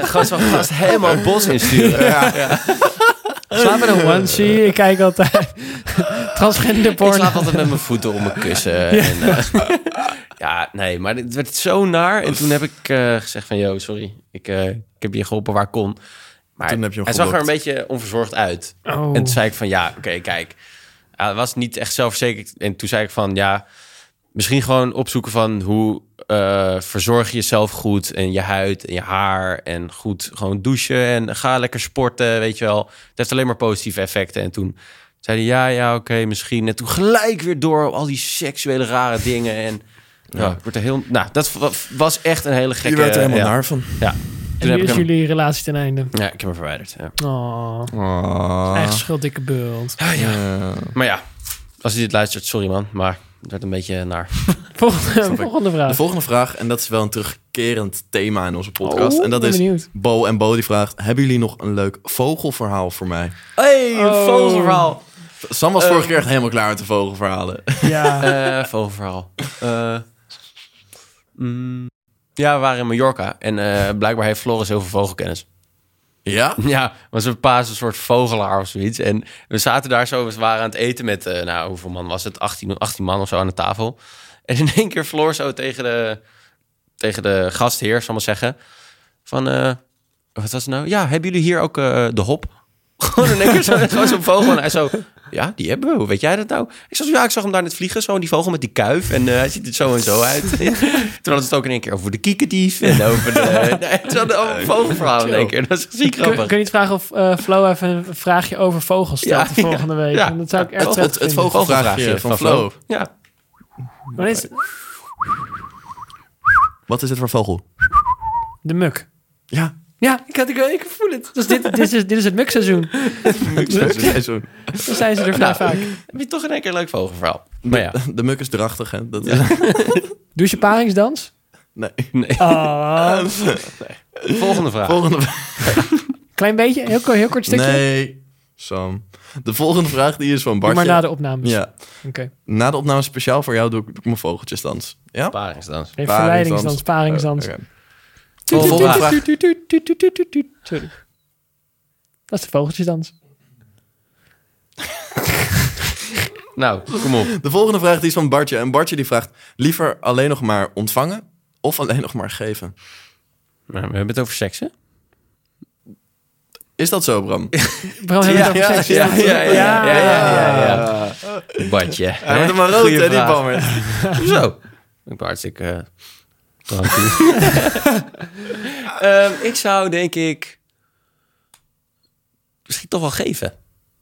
Speaker 2: gast van gast helemaal het bos insturen.
Speaker 3: Slaap in een onesie. Ik kijk altijd. Transgender porno.
Speaker 2: Ik slaap altijd met mijn voeten om mijn kussen. Ja, en, eh, (laughs) ja nee, maar het werd zo naar. En toen heb ik eh, gezegd van, yo, sorry. Ik, eh, ik heb je geholpen waar ik kon. Maar
Speaker 1: Toen heb je hem
Speaker 2: hij zag er een
Speaker 1: geblokt.
Speaker 2: beetje onverzorgd uit.
Speaker 3: Oh.
Speaker 2: En toen zei ik van, ja, oké, kijk. Hij was niet echt zelfverzekerd. En toen zei ik van, ja, misschien gewoon opzoeken van hoe eh, verzorg je jezelf goed. En je huid en je haar. En goed gewoon douchen. En ga lekker sporten, weet je wel. Het heeft alleen maar positieve effecten. En toen zei hij, ja, ja, oké, misschien. En toen gelijk weer door op al die seksuele rare dingen.
Speaker 1: (laughs)
Speaker 2: En ja, ik word er heel... Nou, dat wa- was echt een hele gekke...
Speaker 1: Je werd er helemaal
Speaker 2: ja.
Speaker 1: naar van.
Speaker 2: Ja.
Speaker 3: En
Speaker 2: Toen
Speaker 3: nu
Speaker 2: heb ik
Speaker 3: is
Speaker 2: hem,
Speaker 3: jullie relatie ten einde.
Speaker 2: ja, ik heb hem verwijderd. Ja.
Speaker 3: Oh,
Speaker 1: Ah.
Speaker 3: eigen schuld, dikke bult.
Speaker 1: Eh,
Speaker 2: Maar ja, als je dit luistert, sorry man. Maar het werd een
Speaker 1: (laughs)
Speaker 2: beetje naar.
Speaker 3: Volgende, volgende
Speaker 1: de
Speaker 3: vraag.
Speaker 1: volgende vraag, en dat is wel een terugkerend thema in onze podcast.
Speaker 3: Oh,
Speaker 1: en dat
Speaker 3: ben
Speaker 1: is
Speaker 3: benieuwd.
Speaker 1: Bo en Bo die vraagt... Hebben jullie nog een leuk vogelverhaal voor mij?
Speaker 2: Hey, een
Speaker 3: Oh.
Speaker 2: vogelverhaal.
Speaker 1: Sam was vorige keer echt helemaal klaar met de vogelverhalen. (laughs)
Speaker 3: Ja.
Speaker 1: Ah.
Speaker 2: Eh, vogelverhaal. Eh, mm, ja, we waren in Mallorca. En eh, blijkbaar heeft Floris heel veel vogelkennis.
Speaker 1: ja?
Speaker 2: (laughs) Ja, want zijn pa is een soort vogelaar of zoiets. En we zaten daar zo, we waren aan het eten met, eh, nou, hoeveel man was het? 18, 18 man of zo aan de tafel. En in één keer Floor zo tegen de, tegen de gastheer, zal ik maar zeggen, van, eh, wat was het nou? Ja, hebben jullie hier ook eh, de hop? (laughs) Gewoon in één keer zo- gewoon zo'n vogel. En hij zo, ja, die hebben we. Hoe weet jij dat nou? Ik zag, zo, ja, ik zag hem daar net vliegen, zo die vogel met die kuif. En eh, hij ziet er zo en zo uit. (laughs) Toen hadden we het ook in één keer over de kiekendief en over de... Nee, het hadden allemaal vogelverhalen in één keer. Dat is ziek
Speaker 3: Kun,
Speaker 2: grappig.
Speaker 3: kun je niet vragen of eh, Flo even een vraagje over vogels stelt
Speaker 2: Ja,
Speaker 3: de volgende week?
Speaker 2: ja.
Speaker 3: Want Dat zou ik erg
Speaker 1: Het,
Speaker 3: prettig
Speaker 1: het, het
Speaker 3: vinden.
Speaker 1: vogelvraagje van Flo.
Speaker 2: Ja.
Speaker 3: Maar dit is
Speaker 1: Wat is het voor vogel?
Speaker 3: de muk.
Speaker 1: Ja.
Speaker 3: Ja, ik, had, ik, ik voel het. Dus dit, dit, is, dit is het mukseizoen.
Speaker 1: Seizoen.
Speaker 3: Dan zijn ze er vrij
Speaker 2: Nou.
Speaker 3: vaak.
Speaker 2: Heb je toch in één keer een leuk vogelverhaal? Maar ja.
Speaker 1: De muk is drachtig, hè? Dat is,
Speaker 3: Doe je paringsdans?
Speaker 1: Nee.
Speaker 3: Oh.
Speaker 2: Volgende vraag.
Speaker 1: Volgende
Speaker 3: Klein beetje, heel, kort- heel kort stukje.
Speaker 1: Nee, Sam. De volgende vraag die is van
Speaker 3: Doe
Speaker 1: Bartje.
Speaker 3: maar na de opnames.
Speaker 1: Ja.
Speaker 3: Oké.
Speaker 1: Na de opname speciaal voor jou doe ik, doe ik mijn vogeltjesdans. Ja?
Speaker 2: Paringsdans. Eh,
Speaker 3: Nee, verleidingsdans, paringsdans.
Speaker 1: Oh, oké.
Speaker 3: Tuut, tuut,
Speaker 2: Volgende
Speaker 3: tuut, tuut, tuut, tuut, tuut, tuut, tuut, tuut. Sorry. Dat is de vogeltjesdans.
Speaker 2: Nou, kom (laughs) op.
Speaker 1: De volgende vraag die is van Bartje. En Bartje die vraagt... Liever alleen nog maar ontvangen of alleen nog maar geven?
Speaker 2: We hebben het over seks, hè?
Speaker 1: Is dat zo, Bram?
Speaker 3: Bram, hebben we het over seks?
Speaker 2: ja, ja, ja, ja, ja, ja. Badje.
Speaker 1: Hij wordt hem maar rood, hè, die bammer.
Speaker 2: (laughs) Hoezo? Ik ben hartstikke... eh, (laughs) dronken. Ehm, ik zou, denk ik... Misschien toch wel geven.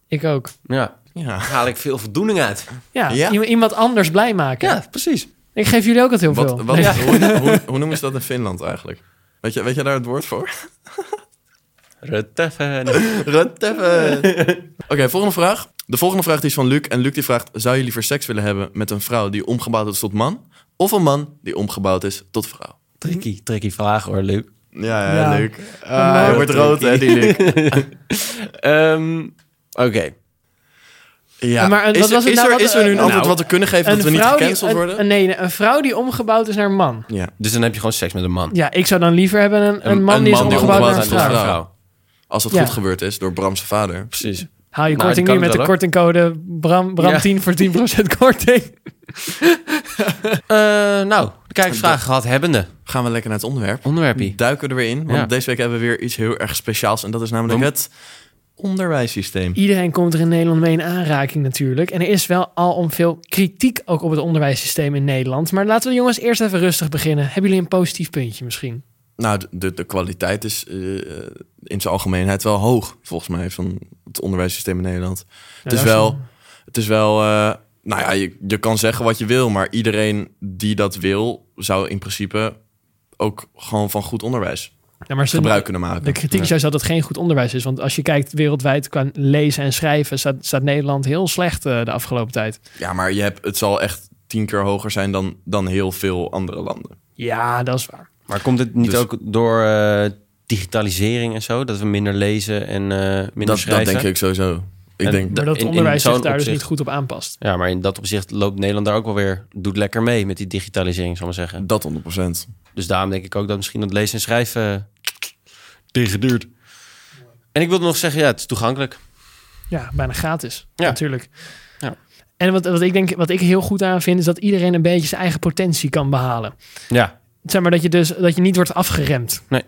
Speaker 3: Ik ook.
Speaker 2: Ja.
Speaker 1: Ja.
Speaker 2: Daar haal ik veel voldoening uit.
Speaker 3: Ja,
Speaker 1: Ja.
Speaker 3: iemand- iemand anders blij maken.
Speaker 2: Ja, precies.
Speaker 3: Ik geef jullie ook het heel
Speaker 1: Wat,
Speaker 3: veel.
Speaker 1: wat,
Speaker 3: Nee.
Speaker 1: hoe, hoe, hoe noemen ze dat in Finland eigenlijk? Weet je, weet je daar het woord
Speaker 2: (laughs)
Speaker 1: voor?
Speaker 2: Rutteffen.
Speaker 1: Rut even. Oké, volgende vraag. De volgende vraag die is van Luc. En Luc die vraagt... Zou je liever seks willen hebben met een vrouw die omgebouwd is tot man... of een man die omgebouwd is tot vrouw?
Speaker 2: Tricky, tricky vraag hoor, Luc.
Speaker 1: Ja,
Speaker 3: Ja.
Speaker 1: Luc.
Speaker 3: man.
Speaker 1: Ah, hij wordt rood, hè, die Luc.
Speaker 2: Ehm, Oké.
Speaker 1: (laughs) Ja,
Speaker 3: Maar, eh,
Speaker 1: is,
Speaker 3: wat was het
Speaker 1: is,
Speaker 3: nou?
Speaker 1: er,
Speaker 3: Wat-
Speaker 1: is er nu een
Speaker 3: eh,
Speaker 1: antwoord
Speaker 2: nou,
Speaker 1: wat we kunnen geven dat we niet gecanceld
Speaker 3: die, een-
Speaker 1: worden?
Speaker 3: Een, nee, nee, een vrouw die omgebouwd is naar een man.
Speaker 1: ja.
Speaker 2: Dus dan heb je gewoon seks met een man.
Speaker 3: Ja, ik zou dan liever hebben een, een man die is
Speaker 1: man die
Speaker 3: omgebouwd naar een
Speaker 1: omgebouwd is
Speaker 3: vrouw.
Speaker 1: naar een vrouw. Als dat
Speaker 3: Ja.
Speaker 1: goed gebeurd is door Bram's vader.
Speaker 2: Precies.
Speaker 3: Haal je
Speaker 2: Nou,
Speaker 3: korting
Speaker 2: die kan
Speaker 3: nu met de
Speaker 2: het wel,
Speaker 3: kortingcode Bram, Bram
Speaker 2: Ja.
Speaker 3: 10 voor 10% korting.
Speaker 2: nou, de Mm. kijkersvraag gehad hebbende.
Speaker 1: Gaan we lekker naar het onderwerp.
Speaker 2: Onderwerpie.
Speaker 1: Duiken we er weer in, want
Speaker 2: Ja.
Speaker 1: deze week hebben we weer iets heel erg speciaals. En dat is namelijk
Speaker 2: We-
Speaker 1: het onderwijssysteem.
Speaker 3: Iedereen komt er in Nederland mee in aanraking natuurlijk. En er is wel al om veel kritiek ook op het onderwijssysteem in Nederland. Maar laten we de jongens eerst even rustig beginnen. Hebben jullie een positief puntje misschien?
Speaker 1: Nou, de- de, de kwaliteit is eh, in zijn algemeenheid wel hoog, volgens mij, van het onderwijssysteem in Nederland. het, is
Speaker 3: dat is
Speaker 1: wel,
Speaker 3: een-
Speaker 1: het is wel, eh, nou ja, je, je kan zeggen wat je wil, maar iedereen die dat wil, zou in principe ook gewoon van goed onderwijs
Speaker 3: Ja, maar ze-
Speaker 1: gebruik kunnen maken.
Speaker 3: De kritiek is juist dat het geen goed onderwijs is. Want als je kijkt wereldwijd qua lezen en schrijven... staat, staat Nederland heel slecht eh, de afgelopen tijd.
Speaker 1: Ja, maar je hebt, het zal echt tien keer hoger zijn dan, dan heel veel andere landen.
Speaker 3: Ja, dat is waar.
Speaker 2: Maar komt het niet
Speaker 1: Dus-
Speaker 2: ook door eh, digitalisering en zo? Dat we minder lezen en eh, minder
Speaker 1: Dat, dat
Speaker 2: schrijven?
Speaker 1: denk ik sowieso. Ik
Speaker 2: En
Speaker 1: denk
Speaker 3: Maar dat
Speaker 2: in-
Speaker 3: het
Speaker 2: in
Speaker 3: onderwijs
Speaker 2: zo'n
Speaker 3: zich daar dus
Speaker 2: opzicht-
Speaker 3: niet goed op aanpast.
Speaker 2: Ja, maar in dat opzicht loopt Nederland daar ook wel weer... doet lekker mee met die digitalisering, zal ik maar zeggen.
Speaker 1: dat 100
Speaker 2: Dus daarom denk ik ook dat misschien dat lezen en schrijven... tegenduurt. En ik wilde nog zeggen, ja, het is toegankelijk.
Speaker 3: Ja, bijna gratis.
Speaker 2: Ja.
Speaker 3: Natuurlijk.
Speaker 2: Ja.
Speaker 3: En wat, wat ik denk, wat ik heel goed aan vind, is dat iedereen een beetje zijn eigen potentie kan behalen.
Speaker 2: Ja.
Speaker 3: Zeg maar dat je dus dat je niet wordt afgeremd.
Speaker 2: Nee.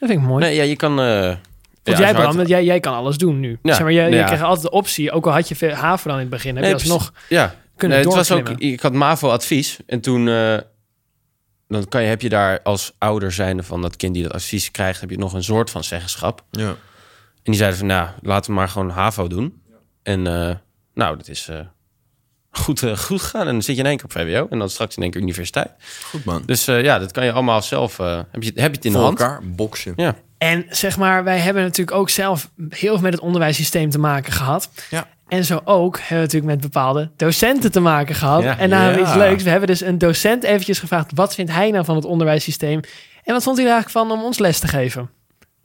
Speaker 3: Dat vind ik mooi.
Speaker 2: Nee, ja, je kan... eh, ja,
Speaker 3: Want
Speaker 2: als je
Speaker 3: jij,
Speaker 2: hard-
Speaker 3: Bram, dat jij, jij kan alles doen nu.
Speaker 2: Ja.
Speaker 3: Zeg maar, jij,
Speaker 2: Nou
Speaker 3: jij
Speaker 2: ja.
Speaker 3: krijgt altijd de optie, ook al had je veel HAVO dan in het begin, heb
Speaker 2: Nee,
Speaker 3: je alsnog
Speaker 2: Ja,
Speaker 3: kunnen
Speaker 2: Nee, het was ook,
Speaker 3: doorklimmen.
Speaker 2: ik had MAVO-advies. En toen eh, dan kan je, heb je daar als ouder zijnde van dat kind die dat advies krijgt... heb je nog een soort van zeggenschap.
Speaker 1: Ja.
Speaker 2: En die zeiden van, nou, laten we maar gewoon HAVO doen. En eh, nou, dat is eh, goed, eh, goed gegaan. En dan zit je in één keer op VWO en dan straks in één keer universiteit.
Speaker 1: Goed man.
Speaker 2: Dus eh, ja, dat kan je allemaal zelf... eh, heb, je, heb je het in
Speaker 1: Voor
Speaker 2: de hand.
Speaker 1: elkaar boksen.
Speaker 2: Ja.
Speaker 3: En zeg maar, wij hebben natuurlijk ook zelf heel veel met het onderwijssysteem te maken gehad.
Speaker 1: Ja.
Speaker 3: En zo ook hebben we natuurlijk met bepaalde docenten te maken gehad.
Speaker 2: Ja.
Speaker 3: en daar hebben we iets
Speaker 1: Ja.
Speaker 3: leuks. We hebben dus een docent eventjes gevraagd... wat vindt hij nou van het onderwijssysteem? En wat vond hij er eigenlijk van om ons les te geven?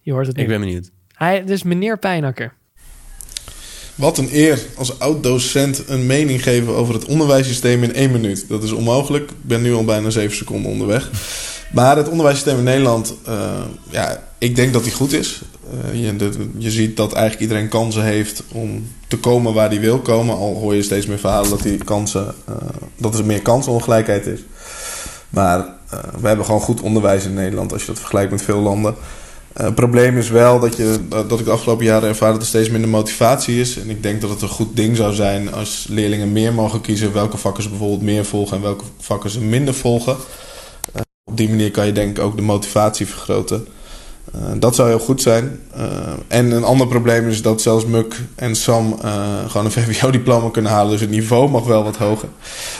Speaker 3: Je hoort het nu.
Speaker 2: Ik ben benieuwd.
Speaker 3: Hij, dus meneer Pijnakker.
Speaker 4: Wat een eer als oud-docent een mening geven over het onderwijssysteem in één minuut. Dat is onmogelijk. Ik ben nu al bijna zeven seconden onderweg. Maar het onderwijssysteem in Nederland, eh, ja, ik denk dat die goed is. Eh, je, de- je ziet dat eigenlijk iedereen kansen heeft om te komen waar hij wil komen. Al hoor je steeds meer verhalen dat, die kansen, eh, dat er meer kansenongelijkheid is. Maar eh, we hebben gewoon goed onderwijs in Nederland als je dat vergelijkt met veel landen. Eh, het probleem is wel dat, je, dat dat ik de afgelopen jaren ervaar dat er steeds minder motivatie is. En ik denk dat het een goed ding zou zijn als leerlingen meer mogen kiezen welke vakken ze bijvoorbeeld meer volgen en welke vakken ze minder volgen. Eh, op die manier kan je denk ik ook de motivatie vergroten. Eh, dat zou heel goed zijn. Eh, en een ander probleem is dat zelfs Muk en Sam eh, gewoon een (laughs) VWO-diploma kunnen halen. Dus het niveau mag wel wat hoger.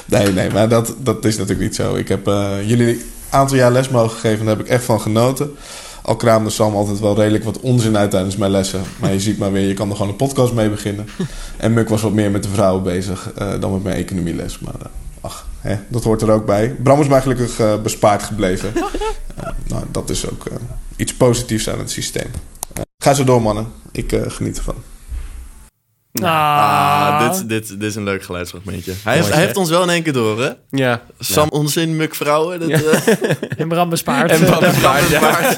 Speaker 4: Nee, nee, maar dat, dat is natuurlijk niet zo. Ik heb eh, jullie een aantal jaar les mogen geven en daar heb ik echt van genoten. Al kraamde Sam altijd wel redelijk wat onzin uit tijdens mijn lessen. Maar je ziet maar weer, je kan er gewoon een podcast mee beginnen. En Muk was wat meer met de vrouwen bezig eh, dan met mijn economieles. Maar eh, ach, hè, dat hoort er ook bij. Bram is mij gelukkig eh, bespaard gebleven. Eh, nou, dat is ook eh, iets positiefs aan het systeem. Eh, ga zo door, mannen. Ik eh, geniet ervan.
Speaker 1: Ah,
Speaker 3: Ah.
Speaker 1: dit, dit, dit is een leuk geluidsfragmentje. Hij, heeft,
Speaker 2: hè?
Speaker 1: hij heeft ons wel in één keer door, hè?
Speaker 2: Ja.
Speaker 1: Sam onzin, muk vrouwen. Dat, eh,
Speaker 3: En Bram bespaart.
Speaker 2: En Bram
Speaker 3: (laughs) Eh,
Speaker 2: Bespaard, ja.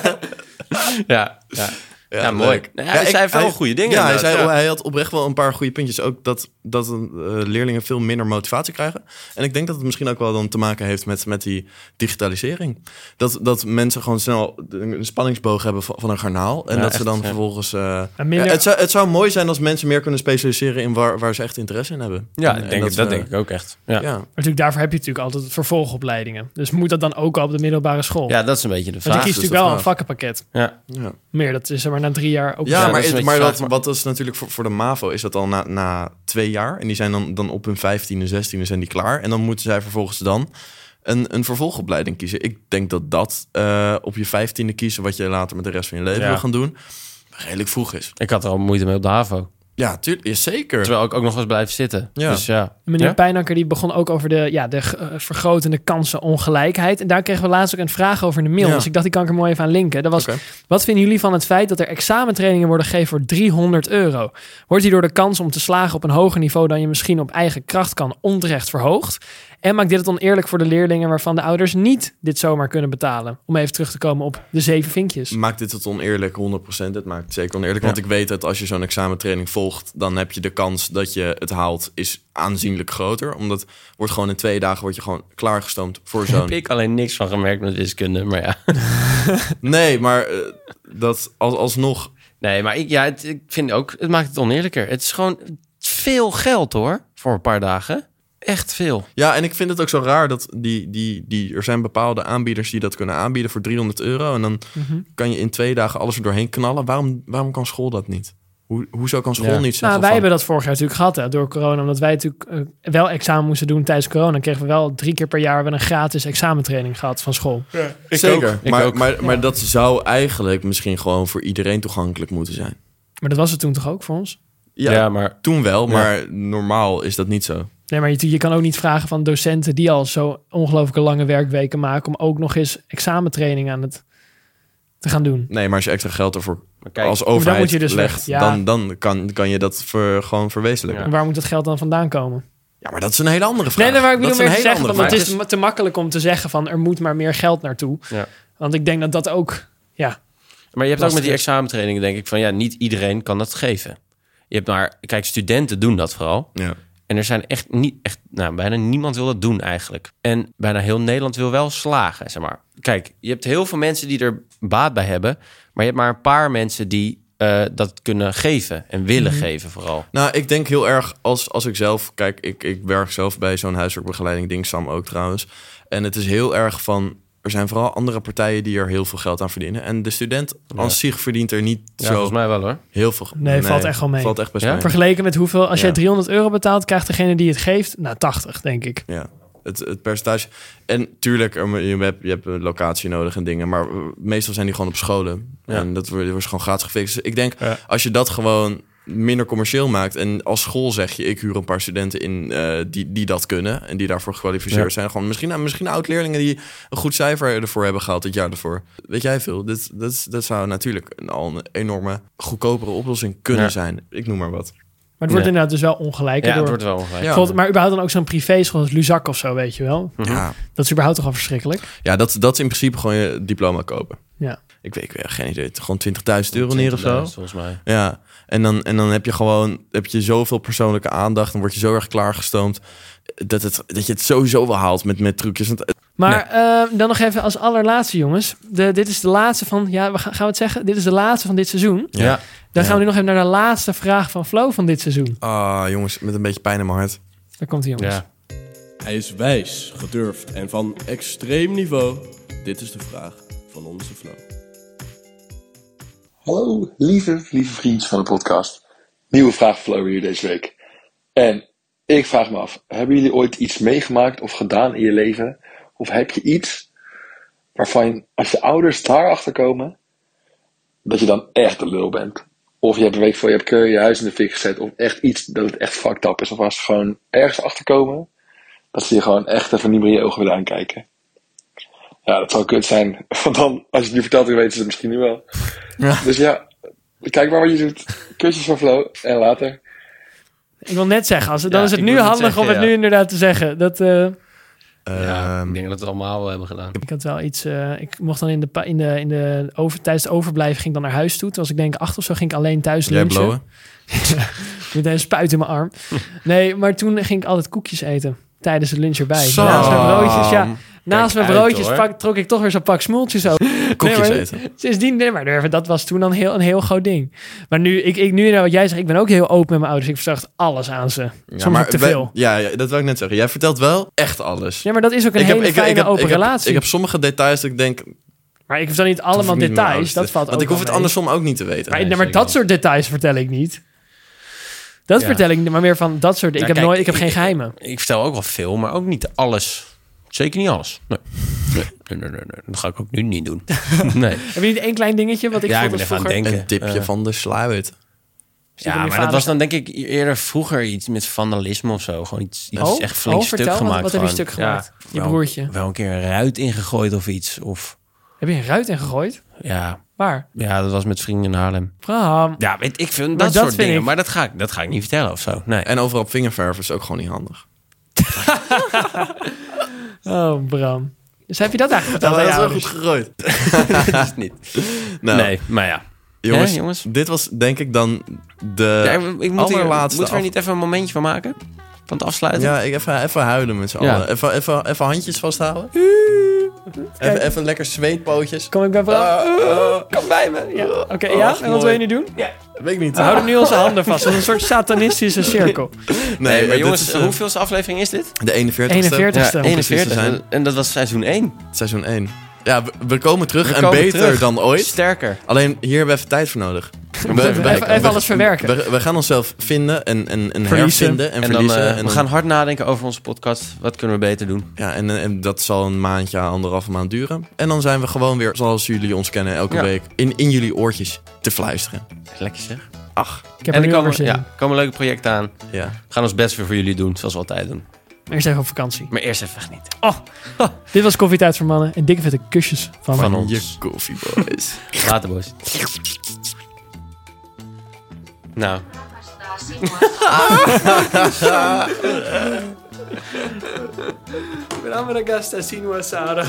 Speaker 2: Ja, ja.
Speaker 1: Ja,
Speaker 2: Ja, mooi.
Speaker 1: leuk.
Speaker 2: Ja, hij zei wel goede dingen
Speaker 1: Ja, hij,
Speaker 2: inderdaad,
Speaker 1: zei,
Speaker 2: ja.
Speaker 1: oh, hij had oprecht wel een paar goede puntjes. Ook dat, dat eh, leerlingen veel minder motivatie krijgen. En ik denk dat het misschien ook wel dan te maken heeft met, met die digitalisering. Dat, dat mensen gewoon snel een spanningsboog hebben van, van een garnaal. En
Speaker 2: Ja,
Speaker 1: dat ze
Speaker 2: echt,
Speaker 1: dan
Speaker 2: ja.
Speaker 1: vervolgens... eh,
Speaker 3: En minder-
Speaker 1: ja, het, zou, het zou mooi zijn als mensen meer kunnen specialiseren in waar, waar ze echt interesse in hebben.
Speaker 2: Ja,
Speaker 1: En-
Speaker 2: ik
Speaker 1: en
Speaker 2: denk, dat, dat
Speaker 1: we-
Speaker 2: denk ik ook echt.
Speaker 1: Ja.
Speaker 2: Ja. Ja.
Speaker 1: Ja.
Speaker 3: natuurlijk, daarvoor heb je natuurlijk altijd vervolgopleidingen. Dus moet dat dan ook al op de middelbare school?
Speaker 2: dat is een beetje de
Speaker 3: Want je
Speaker 2: vraag.
Speaker 1: dus
Speaker 3: kiest natuurlijk wel
Speaker 1: dat
Speaker 3: een vakkenpakket.
Speaker 2: Ja.
Speaker 1: ja.
Speaker 3: Meer, dat is er maar na drie jaar ook.
Speaker 1: Ja,
Speaker 2: Ja,
Speaker 3: zo.
Speaker 2: dat
Speaker 1: maar,
Speaker 2: is een
Speaker 1: is,
Speaker 2: beetje
Speaker 1: maar
Speaker 2: vraag,
Speaker 1: dat,
Speaker 2: maar-
Speaker 1: wat is natuurlijk voor, voor de MAVO is dat al na, na twee jaar. En die zijn dan, dan op hun vijftiende, zestiende zijn die klaar. En dan moeten zij vervolgens dan een, een vervolgopleiding kiezen. Ik denk dat dat eh, op je vijftiende kiezen wat je later met de rest van je leven
Speaker 2: Ja.
Speaker 1: wil gaan doen, redelijk vroeg is.
Speaker 2: Ik had er al moeite mee op de HAVO.
Speaker 1: Ja, tuurlijk. Ja, zeker.
Speaker 2: Terwijl ik ook nog was blijven zitten.
Speaker 1: Ja.
Speaker 2: Dus ja.
Speaker 3: Meneer
Speaker 2: Ja?
Speaker 3: Pijnakker die begon ook over de, ja, de eh, vergrotende kansenongelijkheid. En daar kregen we laatst ook een vraag over in de mail.
Speaker 1: Ja.
Speaker 3: Dus ik dacht, die kan ik er mooi even aan linken. Dat was,
Speaker 1: Oké.
Speaker 3: wat vinden jullie van het feit dat er examentrainingen worden gegeven voor 300 euro? Wordt hierdoor de kans om te slagen op een hoger niveau dan je misschien op eigen kracht kan onterecht verhoogd? En maakt dit het oneerlijk voor de leerlingen waarvan de ouders niet dit zomaar kunnen betalen? Om even terug te komen op de zeven vinkjes.
Speaker 1: Maakt dit het oneerlijk? 100%. Het maakt het zeker oneerlijk. Want ik weet dat als je zo'n examentraining volgt, dan heb je de kans dat je het haalt, is aanzienlijk groter. Omdat wordt gewoon in twee dagen word je gewoon klaargestoomd
Speaker 2: (laughs)
Speaker 1: voor
Speaker 2: Daar heb
Speaker 1: zo'n
Speaker 2: ik alleen niks van gemerkt met wiskunde. Maar ja.
Speaker 1: Nee, maar eh, dat als, alsnog
Speaker 2: (laughs) Nee, maar ik, ja, het, ik vind ook, het maakt het oneerlijker. Het is gewoon veel geld hoor, voor een paar dagen. Echt veel.
Speaker 1: Ja, en ik vind het ook zo raar dat die, die, die, er zijn bepaalde aanbieders die dat kunnen aanbieden voor 300 euro. En dan
Speaker 3: Mhm.
Speaker 1: kan je in twee dagen alles er doorheen knallen. Waarom, waarom kan school dat niet? Hoe, hoezo kan school
Speaker 2: Ja.
Speaker 1: niet
Speaker 3: Nou,
Speaker 1: zeggen
Speaker 3: wij hebben dat vorig jaar natuurlijk gehad hè, door corona. Omdat wij natuurlijk eh, wel examen moesten doen tijdens corona. kregen we wel drie keer per jaar wel een gratis examentraining gehad van school.
Speaker 1: van, Zeker,
Speaker 2: Ik
Speaker 1: maar,
Speaker 2: ook.
Speaker 1: Maar, maar dat zou eigenlijk misschien gewoon voor iedereen toegankelijk moeten zijn.
Speaker 3: Maar dat was het toen toch ook voor ons?
Speaker 1: Ja,
Speaker 2: maar
Speaker 1: toen wel, maar normaal is dat niet zo.
Speaker 3: Nee, maar je, je kan ook niet vragen van docenten die al zo ongelooflijk lange werkweken maken... om ook nog eens examentraining aan het te gaan doen.
Speaker 1: Nee, maar als je extra geld ervoor
Speaker 2: kijk,
Speaker 1: als
Speaker 3: dan
Speaker 1: overheid
Speaker 3: moet je dus
Speaker 1: legt,
Speaker 3: weg, ja.
Speaker 1: dan, dan kan, kan je dat ver, gewoon verwezenlijken.
Speaker 3: En
Speaker 1: Ja.
Speaker 3: waar moet dat geld dan vandaan komen?
Speaker 1: maar dat is een hele andere vraag.
Speaker 3: Nee, nee, maar ik
Speaker 1: dat
Speaker 3: bedoel
Speaker 1: is een
Speaker 3: meer te
Speaker 1: hele
Speaker 3: zeggen,
Speaker 1: andere
Speaker 3: van, het
Speaker 1: vraag.
Speaker 3: is te makkelijk om te zeggen van... er moet maar meer geld naartoe.
Speaker 2: Ja.
Speaker 3: Want ik denk dat dat ook... Ja,
Speaker 2: Maar je hebt ook met die
Speaker 3: Lastig.
Speaker 2: examentrainingen, denk ik, van ja, niet iedereen kan dat geven. Je hebt maar, kijk, studenten doen dat vooral.
Speaker 1: Ja.
Speaker 2: En er zijn echt niet, echt, nou, bijna niemand wil dat doen eigenlijk. En bijna heel Nederland wil wel slagen, zeg maar. Kijk, je hebt heel veel mensen die er baat bij hebben, maar je hebt maar een paar mensen die eh, dat kunnen geven en willen geven vooral.
Speaker 1: Nou, ik denk heel erg als, als ik zelf... Kijk, ik, ik werk zelf bij zo'n huiswerkbegeleiding ding, Sam ook trouwens. En het is heel erg van... Er zijn vooral andere partijen die er heel veel geld aan verdienen. En de student als zich verdient er niet
Speaker 2: Ja,
Speaker 1: zo
Speaker 2: volgens mij wel hoor.
Speaker 1: heel veel...
Speaker 3: Nee, valt echt wel mee.
Speaker 1: Valt echt best
Speaker 2: Ja?
Speaker 1: mee.
Speaker 3: vergeleken met hoeveel... als
Speaker 1: Ja.
Speaker 3: jij 300 euro betaalt, krijgt degene die het geeft... nou, 80, denk ik.
Speaker 1: Ja, het, het percentage. En tuurlijk, er moet- je hebt, je hebt een locatie nodig en dingen. Maar eh, meestal zijn die gewoon op scholen. En dat wordt, wordt gewoon gratis gefixt. Dus ik denk, als je dat gewoon minder commercieel maakt... en als school zeg je, ik huur een paar studenten in eh, die, die dat kunnen... en die daarvoor gekwalificeerd zijn. Gewoon misschien, nou, misschien oud-leerlingen die een goed cijfer ervoor hebben gehaald het jaar ervoor. Weet jij veel? Dit, dat, dat zou natuurlijk een, al een enorme goedkopere oplossing kunnen
Speaker 2: Ja.
Speaker 1: zijn. Ik noem maar wat.
Speaker 3: Maar het
Speaker 2: Ja.
Speaker 3: wordt inderdaad dus wel ongelijk.
Speaker 2: Ja, Hm.
Speaker 3: door.
Speaker 2: het wordt wel ongelijk.
Speaker 1: Ja.
Speaker 3: Bijvoorbeeld, maar überhaupt dan ook zo'n privéschool als Luzak of zo, weet je wel.
Speaker 1: Ja,
Speaker 3: Dat is überhaupt toch al verschrikkelijk.
Speaker 1: ja dat, dat is in principe gewoon je diploma kopen.
Speaker 3: Ja.
Speaker 1: ik weet ik weet geen idee, gewoon 20.000 euro neer of zo.
Speaker 2: 20.000 Volgens mij.
Speaker 1: Ja, en dan, en dan heb je gewoon heb je zoveel persoonlijke aandacht. Dan word je zo erg klaargestoomd dat, het, dat je het sowieso wel haalt met, met trucjes. Want, eh,
Speaker 3: Maar eh, dan nog even als allerlaatste, jongens. De, dit is de laatste van, ja, we gaan, gaan we het zeggen? Dit is de laatste van dit seizoen.
Speaker 1: Ja.
Speaker 3: Dan
Speaker 1: Ja.
Speaker 3: gaan we nu nog even naar de laatste vraag van Flo van dit seizoen.
Speaker 1: Ah, jongens, met een beetje pijn in mijn hart.
Speaker 3: Daar komt hij, jongens.
Speaker 2: Ja.
Speaker 5: Hij is wijs, gedurfd en van extreem niveau. Dit is de vraag van onze Flo.
Speaker 6: Hallo, Oh, lieve, lieve vriend van de podcast. Nieuwe vraag voor hier deze week. En ik vraag me af, hebben jullie ooit iets meegemaakt of gedaan in je leven? Of heb je iets waarvan je, als je ouders daarachter komen, dat je dan echt een lul bent? Of je hebt een week voor je hebt keur je huis in de fik gezet. Of echt iets dat het echt fucked up is. Of als ze gewoon ergens achterkomen, dat ze je gewoon echt even niet meer in je ogen willen aankijken. Ja, dat zou kut zijn. (laughs) Want dan, als je het nu vertelt, dan weten ze het misschien nu wel. Dus ja, kijk maar wat je doet. Kusjes van Flo en later.
Speaker 3: Ik wil net zeggen, als, het- dan
Speaker 2: Ja,
Speaker 3: is het
Speaker 2: ik
Speaker 3: nu
Speaker 2: wil net
Speaker 3: handig om
Speaker 2: zeggen,
Speaker 3: het
Speaker 2: ja.
Speaker 3: nu inderdaad te zeggen. Dat, eh,
Speaker 2: Ja,
Speaker 1: Ehm,
Speaker 2: ik denk dat we het allemaal wel hebben gedaan.
Speaker 3: ik had wel iets, eh, ik mocht dan in de, pa- in de, in de over, tijdens het overblijven ging ik dan naar huis toe. Toen was ik denk ik acht of zo, ging ik alleen thuis
Speaker 1: jij
Speaker 3: lunchen.
Speaker 1: blowen?
Speaker 3: Met een spuit in mijn
Speaker 1: (laughs)
Speaker 3: arm. Nee, maar toen ging ik altijd koekjes eten. Tijdens het lunch erbij.
Speaker 1: Sam.
Speaker 3: Naast mijn broodjes, ja. Naast
Speaker 2: Kijk
Speaker 3: mijn
Speaker 2: uit,
Speaker 3: broodjes
Speaker 2: hoor.
Speaker 3: pak- trok ik toch weer zo'n pak
Speaker 1: (laughs)
Speaker 3: smoeltjes over.
Speaker 1: Koekjes
Speaker 3: Nee, maar-
Speaker 1: eten.
Speaker 3: Sindsdien, nee, maar durven, dat was toen dan heel, een heel groot ding. Maar nu, ik, ik, nu nou wat jij zegt, ik ben ook heel open met mijn ouders. Ik verzacht alles aan ze. Soms ook te
Speaker 1: wij-
Speaker 3: veel.
Speaker 1: ja, ja, dat wil ik net zeggen. Jij vertelt wel echt alles.
Speaker 3: Ja, maar dat is ook een hele fijne open
Speaker 1: ik heb-
Speaker 3: relatie.
Speaker 1: ik heb sommige details dat ik denk... dat
Speaker 3: maar ik vertel niet
Speaker 1: hoef ik
Speaker 3: allemaal
Speaker 1: niet met mijn ouders
Speaker 3: details.
Speaker 1: te-
Speaker 3: Dat valt
Speaker 1: Want
Speaker 3: ook
Speaker 1: ik hoef
Speaker 3: wel
Speaker 1: het
Speaker 3: mee.
Speaker 1: andersom ook niet te weten.
Speaker 3: Maar,
Speaker 2: Nee,
Speaker 3: nee, maar
Speaker 2: zeker
Speaker 3: dat soort details vertel ik niet. Dat
Speaker 2: Ja.
Speaker 3: vertel ik niet, maar meer van dat soort.
Speaker 1: Nou,
Speaker 3: Ik
Speaker 2: Ja,
Speaker 3: heb
Speaker 2: kijk,
Speaker 3: nooit, ik heb
Speaker 2: ik-
Speaker 3: geen geheimen.
Speaker 2: Ik vertel ook wel veel, maar ook niet alles. Zeker niet alles. Nee. Nee, nee, nee, nee, nee. Dat ga ik ook nu niet (laughs) doen. Nee.
Speaker 3: Heb je niet één klein dingetje wat ik
Speaker 2: ja, ik
Speaker 3: vond
Speaker 2: ben
Speaker 3: dat
Speaker 2: even aan het
Speaker 3: vroeger...
Speaker 2: denken.
Speaker 1: Een tipje
Speaker 2: Eh,
Speaker 1: van de sluit.
Speaker 3: van je
Speaker 2: ja, maar dat
Speaker 3: vader.
Speaker 2: was dan denk ik eerder vroeger iets met vandalisme of zo. Gewoon iets, iets
Speaker 3: Oh,
Speaker 2: echt flink
Speaker 3: oh,
Speaker 2: stuk
Speaker 3: vertel, wat-
Speaker 2: gemaakt.
Speaker 3: wat heb je
Speaker 2: gewoon.
Speaker 3: stuk gemaakt?
Speaker 2: Ja,
Speaker 3: Je
Speaker 2: wel-
Speaker 3: broertje.
Speaker 2: Wel een keer een ruit ingegooid of iets. Of
Speaker 3: Heb je een ruit in gegooid?
Speaker 2: ja,
Speaker 3: Waar?
Speaker 2: ja, dat was met vrienden in Haarlem.
Speaker 3: Bram.
Speaker 2: Ja, weet ik vind
Speaker 3: Maar
Speaker 2: dat,
Speaker 3: dat
Speaker 2: soort
Speaker 3: vind
Speaker 2: dingen.
Speaker 3: ik-
Speaker 2: Maar dat ga, ik, dat ga ik niet vertellen of zo. Nee.
Speaker 1: En overal op vingerverven is ook gewoon niet handig.
Speaker 3: Oh, Bram. Dus heb je dat eigenlijk verteld dus aan je ouders?
Speaker 1: gegooid.
Speaker 2: dat is niet.
Speaker 1: Nou,
Speaker 2: Nee, maar ja.
Speaker 1: Jongens,
Speaker 2: Hè, jongens?
Speaker 1: dit was denk ik dan de
Speaker 2: Ja, ik- ik moet hier,
Speaker 1: allerlaatste
Speaker 2: moeten we er
Speaker 1: af-
Speaker 2: niet even een momentje van maken? Van het afsluiten?
Speaker 1: Ja, ik even, even huilen met z'n
Speaker 2: Ja.
Speaker 1: allen. Even, even, even handjes vasthouden. Even, even lekker zweetpootjes.
Speaker 3: Kom ik bij vooraf?
Speaker 1: kom bij me.
Speaker 3: Ja. Oké, ja? En wat wil je nu doen?
Speaker 1: Weet ik niet.
Speaker 3: Oh, We houden nu onze handen vast. Dat is een soort satanistische (laughs) cirkel.
Speaker 1: Nee,
Speaker 2: Nee,
Speaker 1: maar
Speaker 2: maar jongens,
Speaker 1: dit is, eh,
Speaker 2: hoeveelste aflevering is dit?
Speaker 1: de 41ste.
Speaker 3: 41ste.
Speaker 1: om precies te
Speaker 2: 41.
Speaker 1: zijn.
Speaker 2: En dat was seizoen 1.
Speaker 1: Seizoen 1. Ja, we, we komen terug en
Speaker 2: komen
Speaker 1: beter
Speaker 2: terug.
Speaker 1: dan ooit.
Speaker 2: Sterker.
Speaker 1: Alleen hier hebben we even tijd voor nodig. We,
Speaker 3: even- even alles verwerken.
Speaker 1: We, we gaan onszelf vinden en, en, en
Speaker 2: Verliezen.
Speaker 1: hervinden en,
Speaker 2: En dan,
Speaker 1: verliezen.
Speaker 2: eh,
Speaker 1: en
Speaker 2: we
Speaker 1: dan-
Speaker 2: gaan hard nadenken over onze podcast. Wat kunnen we beter doen?
Speaker 1: ja, en, en dat zal een maandje, anderhalve maand duren. En dan zijn we gewoon weer, zoals jullie ons kennen, elke
Speaker 2: Ja.
Speaker 1: week in, in jullie oortjes te fluisteren.
Speaker 2: Lekker zeg.
Speaker 1: Ach,
Speaker 3: Ik heb
Speaker 2: en
Speaker 3: er nu al
Speaker 2: komen,
Speaker 3: weer zin
Speaker 2: ja,
Speaker 3: in.
Speaker 2: er komen leuke projecten aan.
Speaker 1: ja.
Speaker 2: We gaan ons best weer voor jullie doen, zoals we altijd doen.
Speaker 3: Eerst even op vakantie.
Speaker 2: Maar eerst even genieten.
Speaker 3: Oh, dit was Koffietijd voor Mannen. En dikke vette kusjes van,
Speaker 2: Van
Speaker 3: mij.
Speaker 2: ons.
Speaker 1: Je koffie, boys.
Speaker 2: Later, boys. Nou,
Speaker 3: Bravo, ragazzi, sino a Sara.